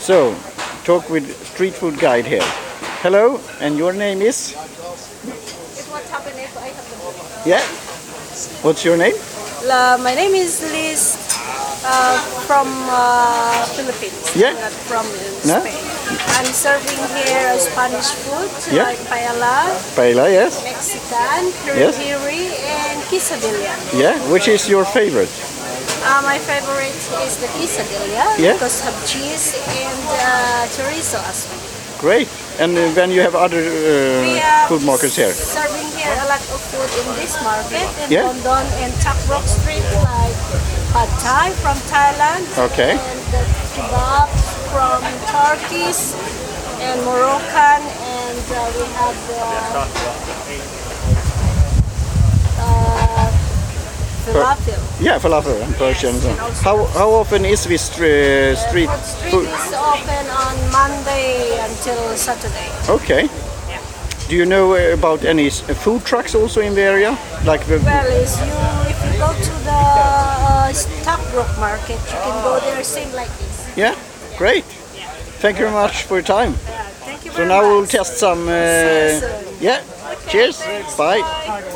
So, talk with street food guide here. Hello, and your name is? It's what happened if I have the book. Yeah. What's your name? La, my name is Liz uh, from uh, Philippines. Yeah. Not from No? Spain. I'm serving here uh, Spanish food Yeah. like paella, Paella, yes. Mexican, Yes. curry, and quesadilla. Yeah. Which is your favorite? Uh, my favorite is the quesadilla Yeah. because have cheese and uh, chorizo as well. Great. And uh, then you have other We uh, are food markets here. Serving here a lot of food in this market in Yeah. London and Tak Rock Street, like pad Thai from Thailand. Okay. And the kebab from Turkish and Moroccan, and uh, we have the. Uh, Falafel. Yeah, falafel and Persian. Yes, and also- How how often is this uh, street Broad Street food? is open on Monday until Saturday. Okay. Do you know uh, about any s- food trucks also in the area? Like the Well, is you if you go to the uh, Stockbrook Market, you can go there same like this. yeah, great. Thank you very much for your time. Yeah, thank you So very now we'll much. test some. Uh, See you soon. yeah. Okay, Cheers. thanks, Bye. bye.